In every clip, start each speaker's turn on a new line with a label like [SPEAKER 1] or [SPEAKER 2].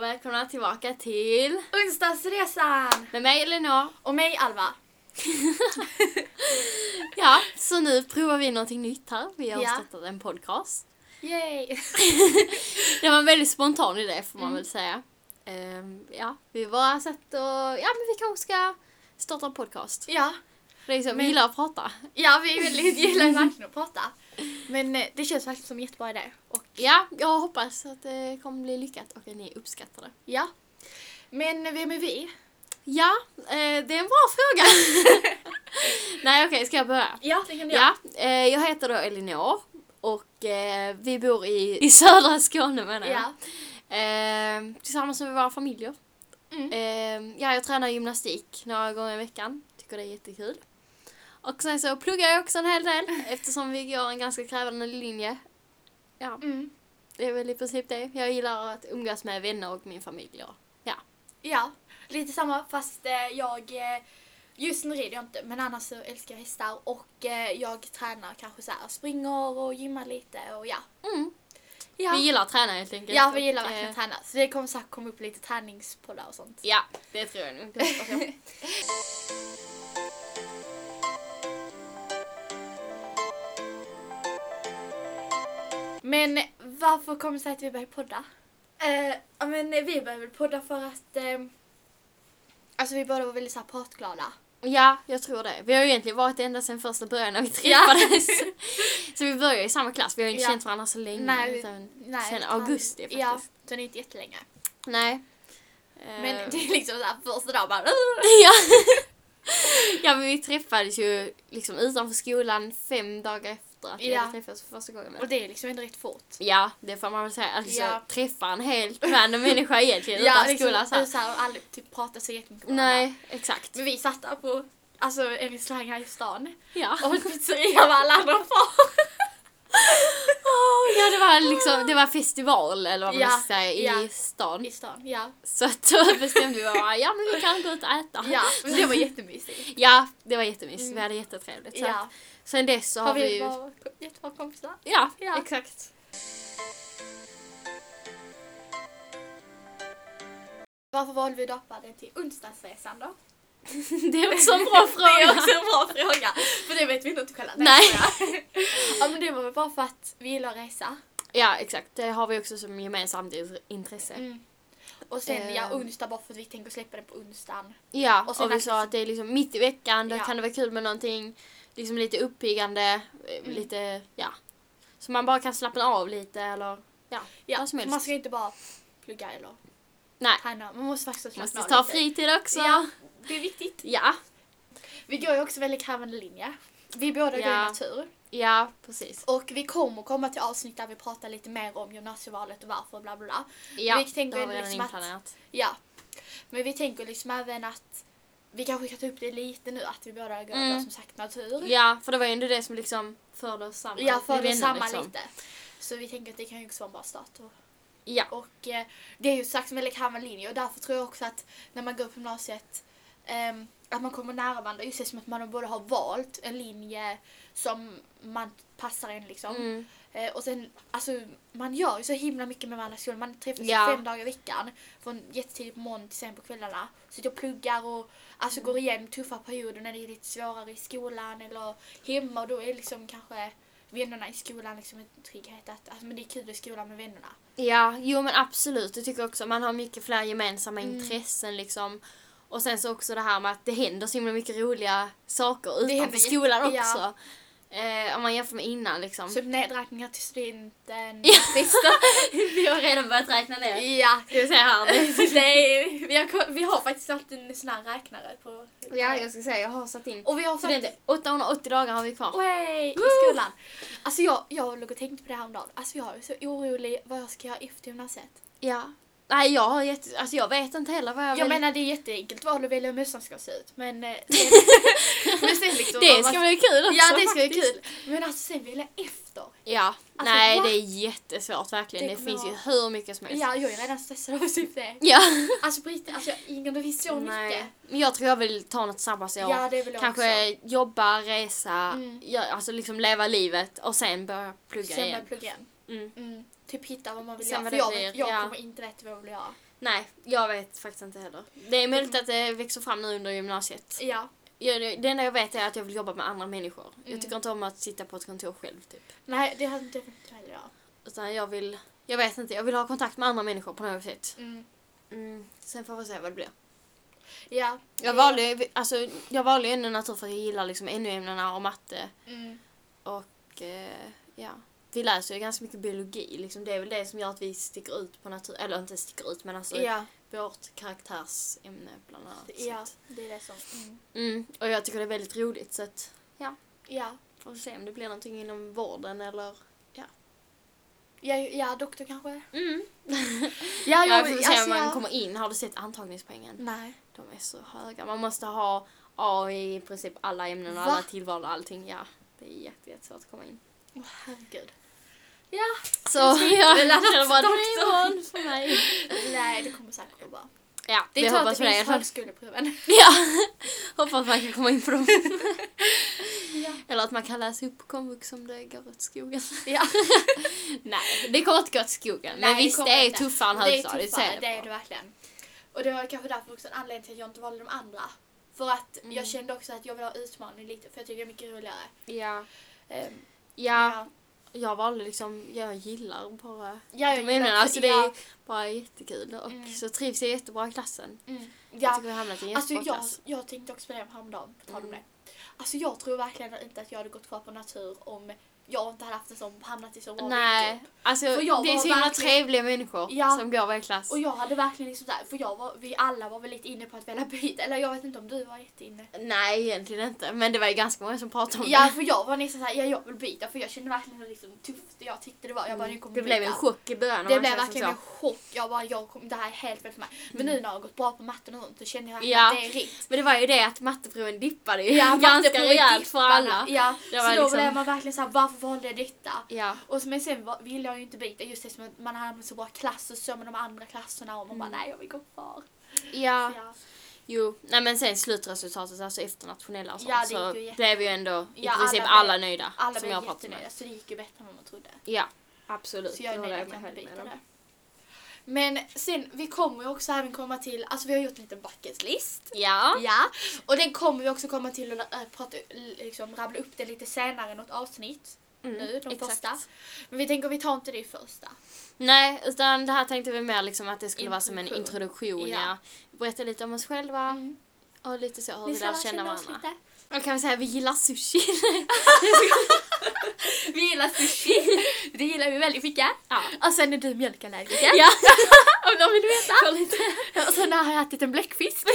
[SPEAKER 1] välkomna tillbaka till
[SPEAKER 2] Onsdagsresan!
[SPEAKER 1] med mig Elinor.
[SPEAKER 2] Och mig Alva.
[SPEAKER 1] Ja, så nu provar vi någonting nytt här. Vi har
[SPEAKER 2] Ja.
[SPEAKER 1] startat en podcast.
[SPEAKER 2] Yay!
[SPEAKER 1] Det var en väldigt spontan idé får
[SPEAKER 2] Mm.
[SPEAKER 1] man väl säga. Ehm, ja, vi bara sett och ja men vi kanske ska starta en podcast.
[SPEAKER 2] Ja,
[SPEAKER 1] Det är liksom, vi
[SPEAKER 2] Men-
[SPEAKER 1] gillar att prata.
[SPEAKER 2] ja vi väldigt, gillar verkligen att prata. Men eh, det känns verkligen som en jättebra idé. Och
[SPEAKER 1] Ja, jag hoppas att det kommer bli lyckat och att ni uppskattar det.
[SPEAKER 2] ja. Men vem är vi?
[SPEAKER 1] Ja, eh, det är en bra fråga. Nej okej, ska jag börja?
[SPEAKER 2] Ja, det kan du
[SPEAKER 1] Ja, eh, jag heter då Elinor och eh, vi bor i, i södra Skåne menar jag.
[SPEAKER 2] Ja.
[SPEAKER 1] Eh, tillsammans med våra familjer.
[SPEAKER 2] Mm.
[SPEAKER 1] Eh, ja, jag tränar gymnastik några gånger i veckan. Tycker det är jättekul. Och sen så pluggar jag också en hel del eftersom vi går en ganska krävande linje. Ja,
[SPEAKER 2] Mm.
[SPEAKER 1] det är väl i princip det. Jag gillar att umgås med vänner och min familj. och- Ja.
[SPEAKER 2] ja. Lite samma fast eh, jag... eh, Just nu rider jag inte men annars så älskar jag hästar och eh, jag tränar kanske så här, springer och gymmar lite och ja.
[SPEAKER 1] Mm.
[SPEAKER 2] Ja,
[SPEAKER 1] Vi gillar att träna helt enkelt.
[SPEAKER 2] ja vi gillar
[SPEAKER 1] Och,
[SPEAKER 2] verkligen
[SPEAKER 1] eh,
[SPEAKER 2] att träna så det kommer säkert komma upp lite träningspoddar och sånt.
[SPEAKER 1] Ja, det tror jag nog. Det hoppas jag.
[SPEAKER 2] Men varför kom det sig att vi började podda? Eh, ja, men vi började väl podda för att ehm, Alltså vi båda var väldigt så här pratglada.
[SPEAKER 1] Ja, jag tror det. Vi har ju egentligen varit det ända sedan första början när vi träffades. så vi började i samma klass. Vi har ju inte
[SPEAKER 2] Ja.
[SPEAKER 1] känt varandra så länge.
[SPEAKER 2] Nej,
[SPEAKER 1] utan
[SPEAKER 2] nej,
[SPEAKER 1] sen
[SPEAKER 2] fan.
[SPEAKER 1] augusti faktiskt.
[SPEAKER 2] Ja, så det är inte jättelänge.
[SPEAKER 1] Nej.
[SPEAKER 2] Men
[SPEAKER 1] Eh,
[SPEAKER 2] det är liksom såhär första dagen bara...
[SPEAKER 1] ja. ja, men vi träffades ju liksom utanför skolan fem dagar efter att vi
[SPEAKER 2] Ja.
[SPEAKER 1] hade träffats för första gången.
[SPEAKER 2] Och det är liksom ändå rätt fort.
[SPEAKER 1] Ja, det får man väl säga. Alltså
[SPEAKER 2] Ja. liksom,
[SPEAKER 1] träffa en helt random människa egentligen utan skola. Så
[SPEAKER 2] så
[SPEAKER 1] här.
[SPEAKER 2] såhär, och aldrig typ pratat så jättemycket med varandra.
[SPEAKER 1] Nej, exakt.
[SPEAKER 2] Men vi satt där på alltså, en restaurang här i stan
[SPEAKER 1] Ja.
[SPEAKER 2] och åt pizzeria med alla andra par.
[SPEAKER 1] ja, det var liksom, det var festival eller vad man
[SPEAKER 2] Ja,
[SPEAKER 1] ska säga i
[SPEAKER 2] ja.
[SPEAKER 1] stan.
[SPEAKER 2] I stan, ja.
[SPEAKER 1] Så att då bestämde vi bara, ja men vi kan gå ut och äta.
[SPEAKER 2] Ja, men det var jättemysigt. liksom.
[SPEAKER 1] Ja, det var jättemysigt.
[SPEAKER 2] Mm.
[SPEAKER 1] Vi hade jättetrevligt. Så
[SPEAKER 2] Ja.
[SPEAKER 1] att sen dess så har,
[SPEAKER 2] Har
[SPEAKER 1] vi
[SPEAKER 2] vi
[SPEAKER 1] ju...
[SPEAKER 2] varit jättebra kompisar?
[SPEAKER 1] Ja,
[SPEAKER 2] Ja.
[SPEAKER 1] exakt.
[SPEAKER 2] Varför valde vi döpa den till onsdagsresan då?
[SPEAKER 1] Det är också en bra
[SPEAKER 2] Det är
[SPEAKER 1] fråga.
[SPEAKER 2] också en bra fråga. För det vet vi nog inte själva.
[SPEAKER 1] Nej.
[SPEAKER 2] jag. ja men det var väl bara för att vi gillar att resa.
[SPEAKER 1] Ja, exakt. Det har vi också som gemensamt intresse.
[SPEAKER 2] Mm. Och sen ja,
[SPEAKER 1] Ehm.
[SPEAKER 2] onsdag bara för att vi tänker släppa den på onsdagen.
[SPEAKER 1] Ja, och,
[SPEAKER 2] Och sen
[SPEAKER 1] vi
[SPEAKER 2] att-
[SPEAKER 1] sa att det är liksom mitt i veckan, då
[SPEAKER 2] Ja.
[SPEAKER 1] kan det vara kul med någonting liksom lite uppiggande, eh,
[SPEAKER 2] Mm.
[SPEAKER 1] lite, ja. Så man bara kan slappna av lite eller ja,
[SPEAKER 2] Ja,
[SPEAKER 1] vad som helst.
[SPEAKER 2] man ska ju inte bara plugga eller
[SPEAKER 1] Nej.
[SPEAKER 2] träna. Man måste faktiskt
[SPEAKER 1] Man
[SPEAKER 2] slappna
[SPEAKER 1] ska
[SPEAKER 2] av
[SPEAKER 1] ta
[SPEAKER 2] lite.
[SPEAKER 1] fritid också.
[SPEAKER 2] Ja, det är viktigt.
[SPEAKER 1] ja,
[SPEAKER 2] Vi går ju också väldigt krävande linje. Vi båda går
[SPEAKER 1] Ja.
[SPEAKER 2] i natur.
[SPEAKER 1] ja precis.
[SPEAKER 2] Och vi kommer komma till avsnitt där vi pratar lite mer om gymnasievalet och varför bla bla bla.
[SPEAKER 1] Ja,
[SPEAKER 2] Vi tänker
[SPEAKER 1] det har vi redan
[SPEAKER 2] liksom att-
[SPEAKER 1] inplanerat.
[SPEAKER 2] Ja. Men vi tänker liksom även att vi kanske kan ta upp det lite nu att vi båda går
[SPEAKER 1] Mm.
[SPEAKER 2] då, som sagt natur.
[SPEAKER 1] Ja, för det var ju ändå det som liksom förde oss samman.
[SPEAKER 2] Ja, för
[SPEAKER 1] Vi
[SPEAKER 2] det
[SPEAKER 1] vänner,
[SPEAKER 2] samma
[SPEAKER 1] liksom.
[SPEAKER 2] lite. Så vi tänker att det kan ju också vara en bra start. Och,
[SPEAKER 1] Ja,
[SPEAKER 2] och eh, det är ju sagt som en lekhamn linje och därför tror jag också att när man går på gymnasiet ehm, att man kommer nära varandra just eftersom att man både har valt en linje som man passar en liksom.
[SPEAKER 1] mm.
[SPEAKER 2] Eh, och sen, alltså man gör ju så himla mycket med varandra i skolan. Man träffas
[SPEAKER 1] Ja.
[SPEAKER 2] fem dagar i veckan. Från jättetidigt på morgonen till sen på kvällarna. Så jag pluggar och alltså går igenom tuffa perioder när det är lite svårare i skolan eller hemma. Och då är liksom kanske vännerna i skolan liksom en trygghet. Att, alltså, men det är kul i skolan med vännerna.
[SPEAKER 1] ja, jo men absolut. Jag tycker också man har mycket fler gemensamma
[SPEAKER 2] Mm.
[SPEAKER 1] intressen liksom. Och sen så också det här med att det händer så himla mycket roliga saker
[SPEAKER 2] händer
[SPEAKER 1] utanför
[SPEAKER 2] jätte-
[SPEAKER 1] skolan
[SPEAKER 2] ja.
[SPEAKER 1] också. Eh, om man jämför med innan liksom.
[SPEAKER 2] Så nedräkningar till studenten.
[SPEAKER 1] Ja. vi har redan börjat räkna ner.
[SPEAKER 2] ja.
[SPEAKER 1] Ska vi se här nu.
[SPEAKER 2] det är, vi, har, ko- vi har faktiskt haft en sån här räknare på...
[SPEAKER 1] Ja, jag ska säga jag har satt in.
[SPEAKER 2] Och vi har
[SPEAKER 1] Så
[SPEAKER 2] sagt...
[SPEAKER 1] det är inte 880 dagar har vi kvar.
[SPEAKER 2] Way, i skolan. Alltså jag, jag låg och tänkte på det här om dagen. Alltså jag är så orolig vad jag ska göra efter gymnasiet.
[SPEAKER 1] Ja. Nej, jag har jätte... Alltså jag vet inte heller vad jag,
[SPEAKER 2] Jag,
[SPEAKER 1] vill.
[SPEAKER 2] menar det är jätteenkelt val att välja hur mössan ska se ut. Men, eh, men sen liksom
[SPEAKER 1] det
[SPEAKER 2] vad
[SPEAKER 1] ska
[SPEAKER 2] man-
[SPEAKER 1] bli kul också
[SPEAKER 2] Ja det ska bli
[SPEAKER 1] faktiskt.
[SPEAKER 2] kul. Men alltså sen välja efter.
[SPEAKER 1] Ja,
[SPEAKER 2] Alltså,
[SPEAKER 1] nej
[SPEAKER 2] va?
[SPEAKER 1] det är jättesvårt verkligen. Det,
[SPEAKER 2] Det kommer
[SPEAKER 1] finns ju
[SPEAKER 2] vara-
[SPEAKER 1] hur mycket som helst.
[SPEAKER 2] Ja jag är redan stressad av typ det.
[SPEAKER 1] Ja.
[SPEAKER 2] Alltså på riktigt, alltså jag har ingen det finns så
[SPEAKER 1] nej.
[SPEAKER 2] mycket.
[SPEAKER 1] Men jag tror jag vill ta något sabbatsår.
[SPEAKER 2] Ja det är väl jag
[SPEAKER 1] Kanske jobba, resa,
[SPEAKER 2] Mm.
[SPEAKER 1] gö- alltså liksom leva livet och sen börja plugga
[SPEAKER 2] också. Sen börja
[SPEAKER 1] igen.
[SPEAKER 2] plugga igen.
[SPEAKER 1] Mm.
[SPEAKER 2] Mm. Typ hitta vad man vill
[SPEAKER 1] Sen
[SPEAKER 2] göra.
[SPEAKER 1] vad
[SPEAKER 2] För
[SPEAKER 1] det
[SPEAKER 2] jag,
[SPEAKER 1] blir,
[SPEAKER 2] vet, jag
[SPEAKER 1] ja.
[SPEAKER 2] kommer inte veta vad jag vill göra.
[SPEAKER 1] Nej, jag vet faktiskt inte heller. Det är möjligt att det växer fram nu under gymnasiet.
[SPEAKER 2] Ja.
[SPEAKER 1] Jag, det enda jag vet är att jag vill jobba med andra människor.
[SPEAKER 2] Mm.
[SPEAKER 1] Jag tycker inte om att sitta på ett kontor själv typ.
[SPEAKER 2] Nej, det hade inte jag inte heller jag.
[SPEAKER 1] Utan jag vill, jag vet inte, jag vill ha kontakt med andra människor på något sätt.
[SPEAKER 2] Mm.
[SPEAKER 1] Mm. Sen får vi se vad det blir.
[SPEAKER 2] Ja.
[SPEAKER 1] Jag valde, ju- alltså, jag valde ju ändå natur för att jag gillar liksom NO-ämnena och matte.
[SPEAKER 2] Mm.
[SPEAKER 1] Och eh, ja, vi läser ju ganska mycket biologi. Liksom. Det är väl det som gör att vi sticker ut på natur, eller inte sticker ut men alltså
[SPEAKER 2] Ja.
[SPEAKER 1] vårt karaktärsämne bland annat. Så
[SPEAKER 2] ja,
[SPEAKER 1] att-
[SPEAKER 2] det är det som... Mm.
[SPEAKER 1] Mm, och jag tycker det är väldigt roligt så att
[SPEAKER 2] Ja.
[SPEAKER 1] får vi se om det blir någonting inom vården eller
[SPEAKER 2] Ja, ja, doktor kanske?
[SPEAKER 1] mm.
[SPEAKER 2] Ja,
[SPEAKER 1] Jag får se om
[SPEAKER 2] jag-
[SPEAKER 1] man kommer in. Har du sett antagningspoängen?
[SPEAKER 2] Nej.
[SPEAKER 1] De är så höga. Man måste ha A i princip alla ämnen och
[SPEAKER 2] Va?
[SPEAKER 1] alla tillval och allting. Ja, det är jätte, jättesvårt att komma in.
[SPEAKER 2] Åh herregud.
[SPEAKER 1] Så
[SPEAKER 2] Jag ska inte
[SPEAKER 1] jag
[SPEAKER 2] välja
[SPEAKER 1] känner bara
[SPEAKER 2] doktorn.
[SPEAKER 1] doktorn för mig.
[SPEAKER 2] Nej, det kommer säkert gå bra.
[SPEAKER 1] Ja,
[SPEAKER 2] Det
[SPEAKER 1] vi
[SPEAKER 2] är tur att
[SPEAKER 1] hoppas
[SPEAKER 2] det
[SPEAKER 1] på det i
[SPEAKER 2] finns
[SPEAKER 1] alla fall.
[SPEAKER 2] högskoleproven.
[SPEAKER 1] Ja, hoppas man kan komma in på dem.
[SPEAKER 2] Ja.
[SPEAKER 1] Eller att man kan läsa upp på komvux om det går åt skogen.
[SPEAKER 2] Ja.
[SPEAKER 1] Nej, det kommer inte gå åt skogen.
[SPEAKER 2] Nej,
[SPEAKER 1] Men
[SPEAKER 2] det
[SPEAKER 1] visst, det
[SPEAKER 2] kommer
[SPEAKER 1] är
[SPEAKER 2] inte.
[SPEAKER 1] tuffare än
[SPEAKER 2] Det är
[SPEAKER 1] högstadiet. så
[SPEAKER 2] tuffare, det är
[SPEAKER 1] bra.
[SPEAKER 2] det verkligen. Och det var kanske därför också en anledning till att jag inte valde de andra. För att
[SPEAKER 1] Mm.
[SPEAKER 2] jag kände också att jag vill ha utmaning lite, för jag tycker det är mycket roligare.
[SPEAKER 1] Ja.
[SPEAKER 2] Ehm,
[SPEAKER 1] ja, jag valde liksom, jag gillar bara
[SPEAKER 2] ja, jag
[SPEAKER 1] de ämnena.
[SPEAKER 2] gillar
[SPEAKER 1] Alltså det
[SPEAKER 2] ja,
[SPEAKER 1] är bara jättekul och
[SPEAKER 2] Mm.
[SPEAKER 1] så trivs jag jättebra i klassen.
[SPEAKER 2] mm,
[SPEAKER 1] Jag
[SPEAKER 2] ja.
[SPEAKER 1] tycker vi har hamnat i en
[SPEAKER 2] Alltså
[SPEAKER 1] jättebra
[SPEAKER 2] jag,
[SPEAKER 1] klass.
[SPEAKER 2] jag tänkte också på det häromdagen, på tal om
[SPEAKER 1] Mm.
[SPEAKER 2] det. Alltså jag tror verkligen inte att jag hade gått kvar på natur om jag inte hade haft en sån, hamnat i så bra
[SPEAKER 1] Nej, alltså
[SPEAKER 2] För jag
[SPEAKER 1] det är
[SPEAKER 2] var
[SPEAKER 1] så himla
[SPEAKER 2] verkligen-
[SPEAKER 1] trevliga människor
[SPEAKER 2] Ja.
[SPEAKER 1] som går i vår klass.
[SPEAKER 2] Och jag hade verkligen liksom där, för jag var, vi alla var väl lite inne på att välja byta, eller jag vet inte om du var jätteinne.
[SPEAKER 1] Nej, egentligen inte. Men det var ju ganska många som pratade om
[SPEAKER 2] Ja,
[SPEAKER 1] det.
[SPEAKER 2] för jag var nästan såhär, ja jag vill byta, för jag kände verkligen hur liksom tufft jag tyckte det var. Jag bara, nu kommer
[SPEAKER 1] Mm. det blev
[SPEAKER 2] byta.
[SPEAKER 1] en chock i början. om
[SPEAKER 2] Det
[SPEAKER 1] man
[SPEAKER 2] blev
[SPEAKER 1] säger som
[SPEAKER 2] verkligen
[SPEAKER 1] så. Mm.
[SPEAKER 2] en chock. Jag bara, jag kom, det här är helt fel för mig. Men nu när jag har gått bra på matten och sånt så känner jag verkligen
[SPEAKER 1] Ja.
[SPEAKER 2] att det är rätt.
[SPEAKER 1] Men det var ju det att matteproven dippade ju
[SPEAKER 2] Ja,
[SPEAKER 1] ganska
[SPEAKER 2] matteprovet
[SPEAKER 1] rejält för
[SPEAKER 2] dippade.
[SPEAKER 1] alla.
[SPEAKER 2] Ja,
[SPEAKER 1] Det
[SPEAKER 2] så
[SPEAKER 1] var
[SPEAKER 2] då
[SPEAKER 1] liksom-
[SPEAKER 2] blev man verkligen såhär, varför valde jag detta?
[SPEAKER 1] Ja.
[SPEAKER 2] Och så, men sen var- ville jag ju inte byta just eftersom att man hade en så bra klass och så med de andra klasserna och man bara, nej jag vill gå kvar.
[SPEAKER 1] Mm. ja.
[SPEAKER 2] Så ja.
[SPEAKER 1] Jo. Nej men sen slutresultatet, alltså efter nationella och sånt,
[SPEAKER 2] Ja, det
[SPEAKER 1] så
[SPEAKER 2] gick ju jätte-
[SPEAKER 1] blev ju ändå i
[SPEAKER 2] Ja,
[SPEAKER 1] princip
[SPEAKER 2] alla
[SPEAKER 1] alla,
[SPEAKER 2] blev-
[SPEAKER 1] nöjda.
[SPEAKER 2] Alla
[SPEAKER 1] som
[SPEAKER 2] blev
[SPEAKER 1] jag pratade
[SPEAKER 2] jättenöjda
[SPEAKER 1] med.
[SPEAKER 2] så det gick ju bättre än vad man trodde.
[SPEAKER 1] Ja. Absolut.
[SPEAKER 2] Så jag är
[SPEAKER 1] det
[SPEAKER 2] nöjd
[SPEAKER 1] håller
[SPEAKER 2] att jag
[SPEAKER 1] med
[SPEAKER 2] inte byter
[SPEAKER 1] om.
[SPEAKER 2] det. Men sen, vi kommer ju också även komma till, alltså vi har gjort en liten bucket list.
[SPEAKER 1] Ja.
[SPEAKER 2] Ja, och den kommer vi också komma till och äh, prata, liksom, rabbla upp den lite senare i något avsnitt.
[SPEAKER 1] Mm,
[SPEAKER 2] nu, de
[SPEAKER 1] exakt.
[SPEAKER 2] första. Men vi tänker vi tar inte det i första.
[SPEAKER 1] Nej, utan det här tänkte vi mer liksom att det skulle vara som en
[SPEAKER 2] Introduktion.
[SPEAKER 1] introduktion. Ja.
[SPEAKER 2] Ja.
[SPEAKER 1] Berätta lite om oss själva och lite så hur vi
[SPEAKER 2] ska Mm. lära
[SPEAKER 1] lär känna
[SPEAKER 2] oss
[SPEAKER 1] varandra.
[SPEAKER 2] lite.
[SPEAKER 1] Man kan väl säga att vi gillar sushi.
[SPEAKER 2] Vi gillar sushi. det gillar vi väldigt mycket.
[SPEAKER 1] Ja.
[SPEAKER 2] Och sen är du mjölkallergiker.
[SPEAKER 1] Alltså, ja.
[SPEAKER 2] Om någon vill veta. Och sen har jag ätit en bläckfisk.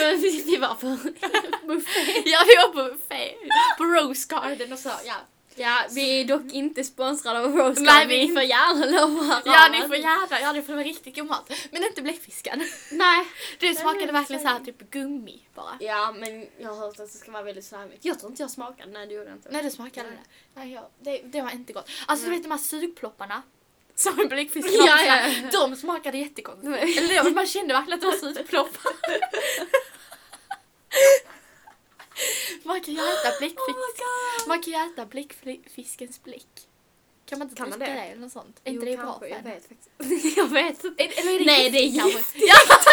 [SPEAKER 1] Så vi vi var på
[SPEAKER 2] buffé. Ja, vi var på buffé. På Rose Garden och så. Ja,
[SPEAKER 1] Ja, vi är dock inte sponsrade av Rose
[SPEAKER 2] Nej,
[SPEAKER 1] Nej, vi
[SPEAKER 2] vi-
[SPEAKER 1] får gärna lova
[SPEAKER 2] ja
[SPEAKER 1] ramen.
[SPEAKER 2] ni får gärna. Ja, det får vara riktigt god mat. Men inte bläckfisken.
[SPEAKER 1] Nej.
[SPEAKER 2] Det
[SPEAKER 1] det
[SPEAKER 2] smakade
[SPEAKER 1] är
[SPEAKER 2] verkligen så här
[SPEAKER 1] så.
[SPEAKER 2] typ gummi bara.
[SPEAKER 1] Ja, men jag har hört att det ska vara väldigt slarvigt. Jag tror inte jag smakade. Nej, det gjorde jag inte.
[SPEAKER 2] Nej det smakade
[SPEAKER 1] Nej.
[SPEAKER 2] det. Nej, ja, det. Det var inte gott. Alltså du
[SPEAKER 1] Nej.
[SPEAKER 2] vet de här sugplopparna. Som en bläckfisk
[SPEAKER 1] Ja,
[SPEAKER 2] var på
[SPEAKER 1] ja,
[SPEAKER 2] såhär, De smakade jättekonstigt.
[SPEAKER 1] Nej.
[SPEAKER 2] Eller det, man kände verkligen att det var sugploppar. man kan ju äta bläckfisk.
[SPEAKER 1] Oh god!
[SPEAKER 2] man kan ju äta bläckfiskens bläck. Kan man inte
[SPEAKER 1] Kan man
[SPEAKER 2] dricka
[SPEAKER 1] det?
[SPEAKER 2] det eller något sånt? Är inte det bra för
[SPEAKER 1] Jag
[SPEAKER 2] en?
[SPEAKER 1] vet faktiskt. jag vet inte.
[SPEAKER 2] Eller- Eller är det
[SPEAKER 1] Nej, det är
[SPEAKER 2] gift kanske?
[SPEAKER 1] gift.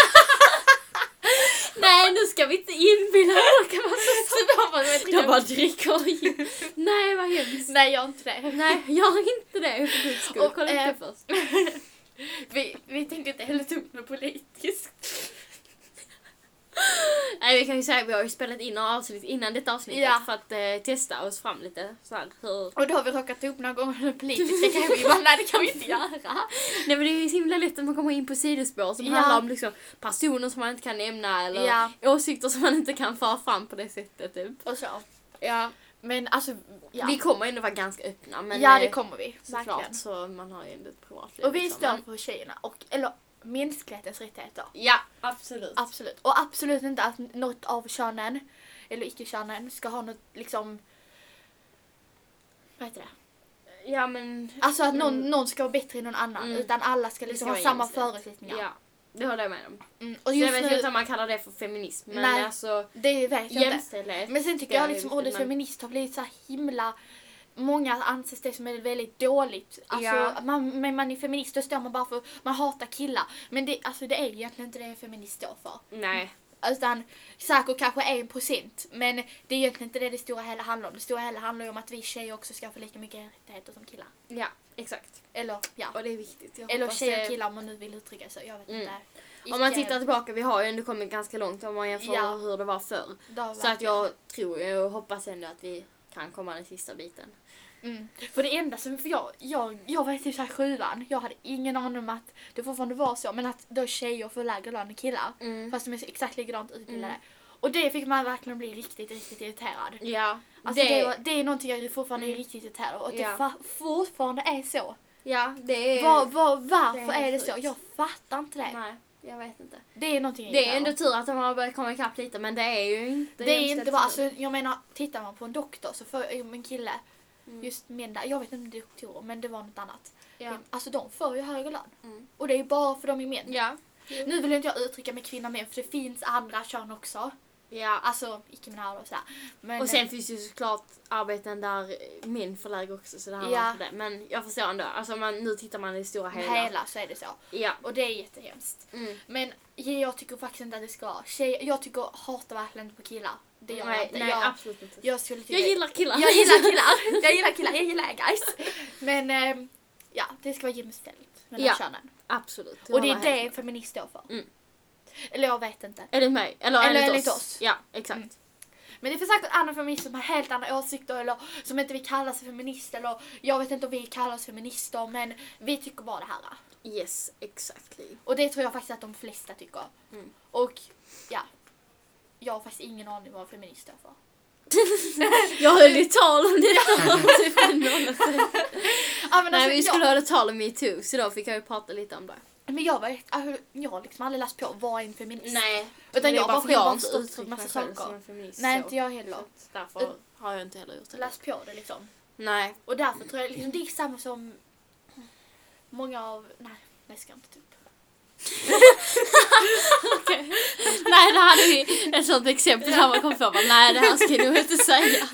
[SPEAKER 1] Nej, nu ska vi inte inbilla folk att man så
[SPEAKER 2] Så bara, vet,
[SPEAKER 1] De bara dricker gift. Nej, vad hemskt.
[SPEAKER 2] Nej jag har inte det.
[SPEAKER 1] Nej, jag är inte det. För guds skull.
[SPEAKER 2] Och,
[SPEAKER 1] Kolla
[SPEAKER 2] eh,
[SPEAKER 1] inte först.
[SPEAKER 2] vi, vi tänkte inte heller ta upp något politiskt.
[SPEAKER 1] Nej vi kan ju säga att vi har ju spelat in några avsnitt innan detta avsnittet
[SPEAKER 2] Ja.
[SPEAKER 1] för att eh, testa oss fram lite. Så här, hur...
[SPEAKER 2] Och då har vi råkat ta upp några gånger politiskt. Det kan vi bara, nej det kan vi inte göra.
[SPEAKER 1] Nej men det är ju så himla lätt att man kommer in på sidospår som
[SPEAKER 2] Ja.
[SPEAKER 1] handlar om liksom, personer som man inte kan nämna eller
[SPEAKER 2] Ja.
[SPEAKER 1] åsikter som man inte kan föra fram på det sättet. Typ.
[SPEAKER 2] Och så.
[SPEAKER 1] Ja.
[SPEAKER 2] Men alltså, ja.
[SPEAKER 1] Vi kommer ändå vara ganska öppna men
[SPEAKER 2] ja det
[SPEAKER 1] eh,
[SPEAKER 2] kommer vi.
[SPEAKER 1] såklart
[SPEAKER 2] Verkligen.
[SPEAKER 1] så man har ju ändå ett privatliv.
[SPEAKER 2] Och vi
[SPEAKER 1] liksom.
[SPEAKER 2] står
[SPEAKER 1] Men-
[SPEAKER 2] på tjejerna och, eller mänsklighetens rättigheter.
[SPEAKER 1] Ja absolut.
[SPEAKER 2] Absolut. Och absolut inte att något av könen, eller icke-könen, ska ha något liksom... Vad heter det?
[SPEAKER 1] Ja men
[SPEAKER 2] Alltså att någon, någon ska vara bättre än någon annan.
[SPEAKER 1] Mm.
[SPEAKER 2] Utan alla ska liksom
[SPEAKER 1] Det
[SPEAKER 2] ha
[SPEAKER 1] ska vara
[SPEAKER 2] samma
[SPEAKER 1] jämställt.
[SPEAKER 2] förutsättningar.
[SPEAKER 1] ja. Det håller jag med om.
[SPEAKER 2] Mm. Och
[SPEAKER 1] Så Alltså, jag
[SPEAKER 2] just
[SPEAKER 1] vet inte
[SPEAKER 2] nu,
[SPEAKER 1] om man kallar det för feminism men
[SPEAKER 2] Nej.
[SPEAKER 1] alltså
[SPEAKER 2] det vet jag inte.
[SPEAKER 1] jämställdhet.
[SPEAKER 2] Men sen tycker
[SPEAKER 1] Det
[SPEAKER 2] jag
[SPEAKER 1] är
[SPEAKER 2] liksom
[SPEAKER 1] viktigt,
[SPEAKER 2] ordet
[SPEAKER 1] Eh, men-
[SPEAKER 2] feminist har blivit så här himla många anses det som är väldigt dåligt. Alltså,
[SPEAKER 1] Ja.
[SPEAKER 2] man, men man är feminist, då står man bara för man hatar killar. Men det, alltså, det är egentligen inte det en feminist står för.
[SPEAKER 1] Nej.
[SPEAKER 2] Utan säkert kanske en procent. Men det är egentligen inte det det stora hela handlar om. Det stora hela handlar ju om att vi tjejer också ska få lika mycket rättigheter som killar.
[SPEAKER 1] Ja, exakt.
[SPEAKER 2] Eller ja.
[SPEAKER 1] Och det är viktigt. Jag
[SPEAKER 2] Eller
[SPEAKER 1] hoppas
[SPEAKER 2] tjejer
[SPEAKER 1] det-
[SPEAKER 2] och killar om man nu vill uttrycka sig. Jag vet
[SPEAKER 1] Mm.
[SPEAKER 2] inte.
[SPEAKER 1] Om man
[SPEAKER 2] Icke-
[SPEAKER 1] tittar tillbaka, vi har ju ändå kommit ganska långt om man jämför
[SPEAKER 2] Ja.
[SPEAKER 1] hur det var förr.
[SPEAKER 2] Då
[SPEAKER 1] Så att jag tror ju och hoppas ändå att vi kan komma den sista biten.
[SPEAKER 2] Mm. För det enda som, för jag, jag, jag var typ såhär sjuan, jag hade ingen aning om att det fortfarande var så, men att då tjejer får lägre lön än killar.
[SPEAKER 1] Mm.
[SPEAKER 2] Fast de är så exakt likadant utbildade. Och det fick man verkligen bli riktigt, riktigt irriterad.
[SPEAKER 1] Ja.
[SPEAKER 2] Alltså det,
[SPEAKER 1] det, Mm.
[SPEAKER 2] var- det är någonting jag fortfarande är riktigt irriterad över, och att
[SPEAKER 1] Ja.
[SPEAKER 2] det fa- fortfarande är så.
[SPEAKER 1] ja, det är...
[SPEAKER 2] Var, var, varför
[SPEAKER 1] det är
[SPEAKER 2] är,
[SPEAKER 1] helt
[SPEAKER 2] det så?
[SPEAKER 1] sjukt.
[SPEAKER 2] Jag fattar inte det.
[SPEAKER 1] Nej, jag vet inte.
[SPEAKER 2] Det är någonting jag
[SPEAKER 1] Det är
[SPEAKER 2] irriterar
[SPEAKER 1] ändå
[SPEAKER 2] över.
[SPEAKER 1] tur att de har börjat komma ikapp lite men det är ju inte
[SPEAKER 2] Det, är inte
[SPEAKER 1] jämställt
[SPEAKER 2] bara,
[SPEAKER 1] nu.
[SPEAKER 2] alltså, jag menar, tittar man på en doktor så får en kille,
[SPEAKER 1] Mm.
[SPEAKER 2] just män där, jag vet inte om det är doktorer, men det var något annat.
[SPEAKER 1] Ja.
[SPEAKER 2] Alltså de får ju högre lön.
[SPEAKER 1] Mm.
[SPEAKER 2] Och det är ju bara för de är män.
[SPEAKER 1] Ja.
[SPEAKER 2] Nu vill inte jag uttrycka mig kvinna och män för det finns andra kön också.
[SPEAKER 1] ja.
[SPEAKER 2] Alltså icke-binära och sådär. Men,
[SPEAKER 1] Och sen finns ju såklart arbeten där män får lägre också så det handlar
[SPEAKER 2] Ja.
[SPEAKER 1] inte om det. Men jag förstår ändå. Alltså man, nu tittar man i det stora
[SPEAKER 2] med
[SPEAKER 1] hela.
[SPEAKER 2] hela så är det så.
[SPEAKER 1] Ja.
[SPEAKER 2] Och det är jättehemskt.
[SPEAKER 1] Mm.
[SPEAKER 2] Men jag tycker faktiskt inte att det ska vara tjejer. Jag tycker, hatar verkligen inte på killar. Det gör jag
[SPEAKER 1] nej,
[SPEAKER 2] inte.
[SPEAKER 1] nej
[SPEAKER 2] jag,
[SPEAKER 1] absolut inte.
[SPEAKER 2] jag skulle tycka...
[SPEAKER 1] Jag gillar killar.
[SPEAKER 2] jag gillar killar. jag gillar killar. Jag gillar er guys. Men ehm, ja, det ska vara jämställt mellan
[SPEAKER 1] Ja.
[SPEAKER 2] könen.
[SPEAKER 1] absolut. jag
[SPEAKER 2] Och det är
[SPEAKER 1] håller helt
[SPEAKER 2] det en feminist står för.
[SPEAKER 1] Mm.
[SPEAKER 2] Eller jag vet inte.
[SPEAKER 1] Enligt mig. Eller,
[SPEAKER 2] Eller
[SPEAKER 1] enligt,
[SPEAKER 2] enligt
[SPEAKER 1] oss.
[SPEAKER 2] oss.
[SPEAKER 1] Ja, exakt.
[SPEAKER 2] Mm. Men det finns säkert andra feminister som har helt andra åsikter eller som inte vill kalla sig feminister eller jag vet inte om vi kallar oss feminister men vi tycker bara det här.
[SPEAKER 1] Yes, exactly.
[SPEAKER 2] Och det tror jag faktiskt att de flesta tycker.
[SPEAKER 1] Mm.
[SPEAKER 2] Och ja, jag har faktiskt ingen aning vad feminister är för.
[SPEAKER 1] Jag höll ju tal om det för typ en månad sedan.
[SPEAKER 2] Ja, men,
[SPEAKER 1] Nej,
[SPEAKER 2] alltså,
[SPEAKER 1] vi skulle
[SPEAKER 2] jag,
[SPEAKER 1] höra tal om metoo så då fick jag ju prata lite om det.
[SPEAKER 2] men jag var alltså, jag har liksom aldrig läst på vad är en feminist
[SPEAKER 1] Nej.
[SPEAKER 2] Utan
[SPEAKER 1] det är
[SPEAKER 2] jag
[SPEAKER 1] bara
[SPEAKER 2] bara
[SPEAKER 1] för
[SPEAKER 2] själv
[SPEAKER 1] jag
[SPEAKER 2] har
[SPEAKER 1] har inte
[SPEAKER 2] förstått
[SPEAKER 1] uttryckt
[SPEAKER 2] massa
[SPEAKER 1] mig själv
[SPEAKER 2] saker.
[SPEAKER 1] som en feminist.
[SPEAKER 2] Nej,
[SPEAKER 1] så-
[SPEAKER 2] inte jag heller.
[SPEAKER 1] så Därför har jag inte heller gjort det.
[SPEAKER 2] Läst på det liksom.
[SPEAKER 1] Nej.
[SPEAKER 2] Och därför tror jag liksom det är samma som många av, nej, jag ska inte typ.
[SPEAKER 1] Nej, det hade vi ett sånt exempel där man kom på bara, nej det här ska jag nog inte säga.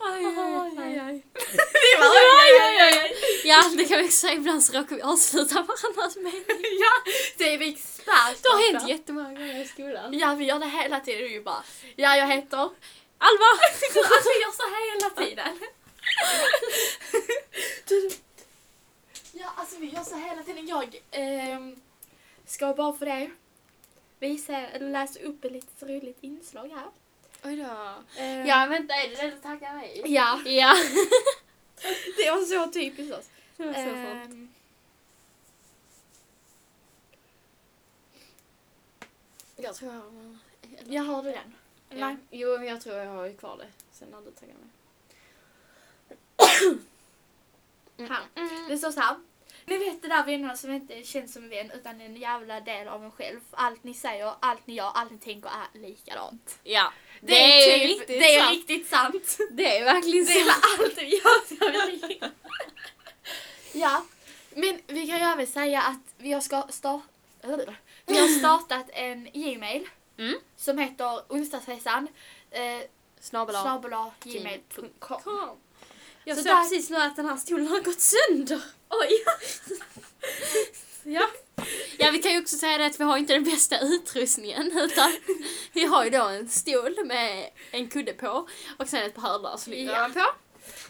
[SPEAKER 1] Aj, aj, aj, aj.
[SPEAKER 2] Det var
[SPEAKER 1] Ja, det kan vi också säga. Ibland så råkar vi avsluta varandras mening.
[SPEAKER 2] Ja, det är vi experter
[SPEAKER 1] Det har hänt jättemånga gånger i skolan.
[SPEAKER 2] Ja, vi gör det hela tiden. Vi bara, ja, jag heter...
[SPEAKER 1] Alva!
[SPEAKER 2] Alltså, vi gör så här hela tiden. Ja, alltså vi gör så här hela tiden. Jag ehm, ska bara för det visa, eller läsa upp ett litet roligt inslag här.
[SPEAKER 1] Oj då.
[SPEAKER 2] Ehm,
[SPEAKER 1] Ja, vänta, är det det du tackar mig?
[SPEAKER 2] ja,
[SPEAKER 1] Eh. Ja.
[SPEAKER 2] det var så typiskt oss.
[SPEAKER 1] Det var så fort.
[SPEAKER 2] Ehm.
[SPEAKER 1] Jag tror jag har...
[SPEAKER 2] Jag har du den?
[SPEAKER 1] Ja. Jo, men jag tror jag har ju kvar det sen när du taggar mig. Mm.
[SPEAKER 2] Här. Det står så här. Ni vet det där vännerna som inte känns som en vän utan en jävla del av en själv. Allt ni säger, allt ni gör, allt ni tänker är likadant.
[SPEAKER 1] Ja. Det,
[SPEAKER 2] Det är,
[SPEAKER 1] ju
[SPEAKER 2] typ,
[SPEAKER 1] riktigt
[SPEAKER 2] det är
[SPEAKER 1] sant.
[SPEAKER 2] riktigt sant.
[SPEAKER 1] Det är verkligen
[SPEAKER 2] Det är
[SPEAKER 1] sant.
[SPEAKER 2] väl allt vi gör som är likadant. Ja, men vi kan ju även säga att vi har, ska sta- vi har startat en gmail
[SPEAKER 1] Mm.
[SPEAKER 2] som heter onsdagsresan eh,
[SPEAKER 1] Snabel av.
[SPEAKER 2] snabel a gmail.com.
[SPEAKER 1] Kom. Jag
[SPEAKER 2] Så
[SPEAKER 1] såg
[SPEAKER 2] där-
[SPEAKER 1] precis nu att den här stolen har gått sönder. Oj. ja. Ja, vi kan ju också säga det att vi har inte den bästa utrustningen utan vi har ju då en stol med en kudde på och sen ett par hörlurar som ligger
[SPEAKER 2] Ja.
[SPEAKER 1] ovanpå.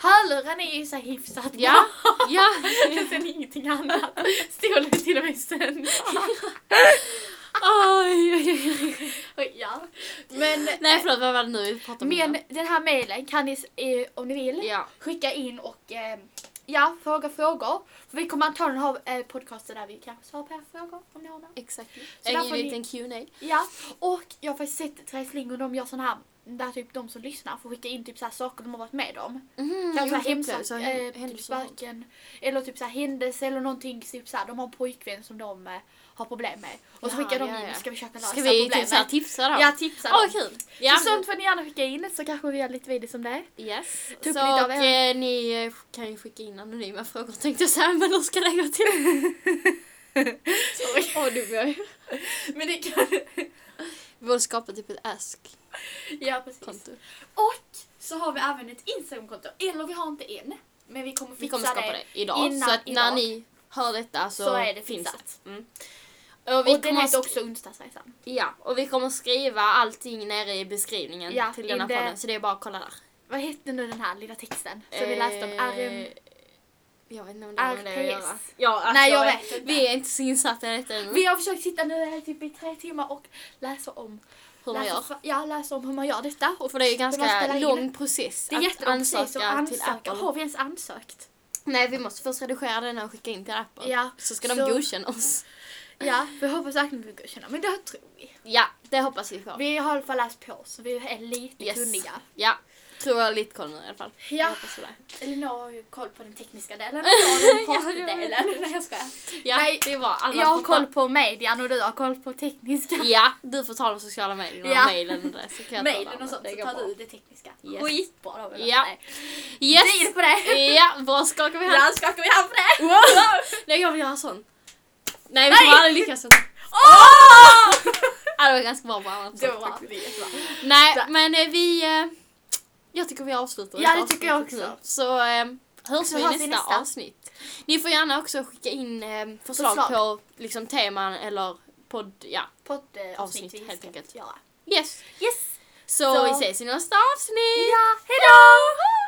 [SPEAKER 2] Hörlurarna är ju så här hyfsat
[SPEAKER 1] Ja. Ja.
[SPEAKER 2] Sen ingenting annat. Stolen till och med sönder.
[SPEAKER 1] Oj, oj, oj.
[SPEAKER 2] Oj, ja. Men,
[SPEAKER 1] Nej, förlåt, vad var det nu vi pratade om?
[SPEAKER 2] men
[SPEAKER 1] innan?
[SPEAKER 2] den här mailen kan ni, eh, om ni vill,
[SPEAKER 1] Ja.
[SPEAKER 2] skicka in och eh, ja, fråga frågor. För vi kommer antagligen ha eh, podcaster där vi kanske svarar på era frågor om ni har några.
[SPEAKER 1] Exakt.
[SPEAKER 2] Så där
[SPEAKER 1] En
[SPEAKER 2] får ni-
[SPEAKER 1] liten Q&A.
[SPEAKER 2] Ja, och jag har faktiskt sett Therese Ling och de gör sådana här där typ de som lyssnar får skicka in typ så här saker de har varit med om.
[SPEAKER 1] Mm,
[SPEAKER 2] Kanske
[SPEAKER 1] gjorde
[SPEAKER 2] mm,
[SPEAKER 1] upplevelser,
[SPEAKER 2] hemsak, eh,
[SPEAKER 1] händelser
[SPEAKER 2] typ
[SPEAKER 1] och sånt.
[SPEAKER 2] sparken, eller typ så här händelse eller någonting. Typ så här, de har en pojkvän som de eh, har problem med. Och så
[SPEAKER 1] Jaha,
[SPEAKER 2] skickar de
[SPEAKER 1] ja,
[SPEAKER 2] in,
[SPEAKER 1] ja.
[SPEAKER 2] ska vi försöka lösa
[SPEAKER 1] Ska vi typ
[SPEAKER 2] problemet?
[SPEAKER 1] såhär tipsa då?
[SPEAKER 2] ja, tipsa
[SPEAKER 1] Åh,
[SPEAKER 2] dem.
[SPEAKER 1] vad kul! Ja.
[SPEAKER 2] Så sånt får ni gärna skicka in så kanske vi gör lite videos om det.
[SPEAKER 1] Yes.
[SPEAKER 2] Ta upp
[SPEAKER 1] så
[SPEAKER 2] lite
[SPEAKER 1] och,
[SPEAKER 2] av er.
[SPEAKER 1] eh, ni eh, kan ju skicka in anonyma frågor tänkte jag säga, men hur ska det gå till? Åh, dum jag är.
[SPEAKER 2] Men det kan...
[SPEAKER 1] Vi borde skapa typ ett ask.
[SPEAKER 2] ja, precis.
[SPEAKER 1] konto.
[SPEAKER 2] Och så har vi även ett Instagramkonto. Eller vi har inte en. Men vi kommer fixa
[SPEAKER 1] Vi kommer skapa
[SPEAKER 2] det.
[SPEAKER 1] det idag.
[SPEAKER 2] innan
[SPEAKER 1] så att när
[SPEAKER 2] idag.
[SPEAKER 1] ni hör detta så,
[SPEAKER 2] Så är det
[SPEAKER 1] finns
[SPEAKER 2] fixat.
[SPEAKER 1] det. Mm. Och, vi
[SPEAKER 2] Och den
[SPEAKER 1] kommer
[SPEAKER 2] heter
[SPEAKER 1] sk-
[SPEAKER 2] också Onsdagsresan.
[SPEAKER 1] ja, och vi kommer skriva allting nere i beskrivningen
[SPEAKER 2] Ja,
[SPEAKER 1] till
[SPEAKER 2] i
[SPEAKER 1] denna
[SPEAKER 2] det-
[SPEAKER 1] podden. Så det är bara att kolla där. Eh,
[SPEAKER 2] Vad hette nu den här lilla texten? Som vi läste om. RM...
[SPEAKER 1] Jag vet inte om det har med det att
[SPEAKER 2] RPS.
[SPEAKER 1] göra. Ja, alltså,
[SPEAKER 2] Nej, jag vet inte.
[SPEAKER 1] Vi är inte så insatta i detta ännu.
[SPEAKER 2] Vi har försökt sitta nu här typ i tre timmar och läsa om
[SPEAKER 1] Hur man
[SPEAKER 2] läsa,
[SPEAKER 1] gör.
[SPEAKER 2] Ja, läsa om hur man gör detta. Och
[SPEAKER 1] För det är ju
[SPEAKER 2] hur man
[SPEAKER 1] ganska
[SPEAKER 2] spelar in
[SPEAKER 1] lång process
[SPEAKER 2] Det är
[SPEAKER 1] att
[SPEAKER 2] jättelång
[SPEAKER 1] ansöka,
[SPEAKER 2] process att ansöka.
[SPEAKER 1] till Apple.
[SPEAKER 2] Har vi ens ansökt?
[SPEAKER 1] Nej, vi måste först redigera den och skicka in till Apple.
[SPEAKER 2] Ja,
[SPEAKER 1] Så ska
[SPEAKER 2] så-
[SPEAKER 1] de godkänna oss.
[SPEAKER 2] Ja, vi hoppas verkligen vi godkänner. Men det tror vi.
[SPEAKER 1] Ja, det hoppas vi på.
[SPEAKER 2] Vi har i alla fall läst på så vi är lite
[SPEAKER 1] Yes.
[SPEAKER 2] kunniga.
[SPEAKER 1] Ja, tror jag har lite koll nu i alla fall.
[SPEAKER 2] Ja.
[SPEAKER 1] Jag hoppas på det.
[SPEAKER 2] Elinor har ju koll på den tekniska delen och den partydelen. Nej jag skojar.
[SPEAKER 1] Ja,
[SPEAKER 2] Nej,
[SPEAKER 1] det var alla
[SPEAKER 2] Jag har
[SPEAKER 1] som-
[SPEAKER 2] koll på median och du har koll på tekniska.
[SPEAKER 1] Ja, du får ta de sociala medierna
[SPEAKER 2] Ja.
[SPEAKER 1] och mejlen och det. Så kan jag ta det
[SPEAKER 2] Mejlen
[SPEAKER 1] andra.
[SPEAKER 2] och sånt
[SPEAKER 1] Det
[SPEAKER 2] så
[SPEAKER 1] går
[SPEAKER 2] tar
[SPEAKER 1] bra.
[SPEAKER 2] du det tekniska.
[SPEAKER 1] Yes.
[SPEAKER 2] Skitbra Robin.
[SPEAKER 1] Ja.
[SPEAKER 2] Nej. Vrid
[SPEAKER 1] Yes!
[SPEAKER 2] på det.
[SPEAKER 1] Ja, bra skakar vi hand.
[SPEAKER 2] Ibland skakar vi hand på det.
[SPEAKER 1] Nej, jag vill göra sån. Nej, vi
[SPEAKER 2] Nej!
[SPEAKER 1] kommer aldrig lyckas. Ja,
[SPEAKER 2] Åh!
[SPEAKER 1] det var ganska bra på annat
[SPEAKER 2] Det
[SPEAKER 1] sätt.
[SPEAKER 2] var bra. Det är jättebra.
[SPEAKER 1] Nej,
[SPEAKER 2] Där.
[SPEAKER 1] men eh, vi... eh, Jag tycker vi avslutar
[SPEAKER 2] Ja,
[SPEAKER 1] detta
[SPEAKER 2] det tycker jag
[SPEAKER 1] avsnittet
[SPEAKER 2] också.
[SPEAKER 1] nu. Så eh, hörs
[SPEAKER 2] Så
[SPEAKER 1] vi i
[SPEAKER 2] hörs
[SPEAKER 1] nästa,
[SPEAKER 2] vi nästa.
[SPEAKER 1] avsnitt. Ni får gärna också skicka in eh, förslag,
[SPEAKER 2] Förslag.
[SPEAKER 1] på liksom, teman eller podd. Ja. Avsnitt,
[SPEAKER 2] Poddavsnitt vi
[SPEAKER 1] helt
[SPEAKER 2] ska
[SPEAKER 1] enkelt.
[SPEAKER 2] göra.
[SPEAKER 1] Yes.
[SPEAKER 2] Yes!
[SPEAKER 1] Så,
[SPEAKER 2] Så-
[SPEAKER 1] vi ses i nästa avsnitt!
[SPEAKER 2] Ja, hejdå!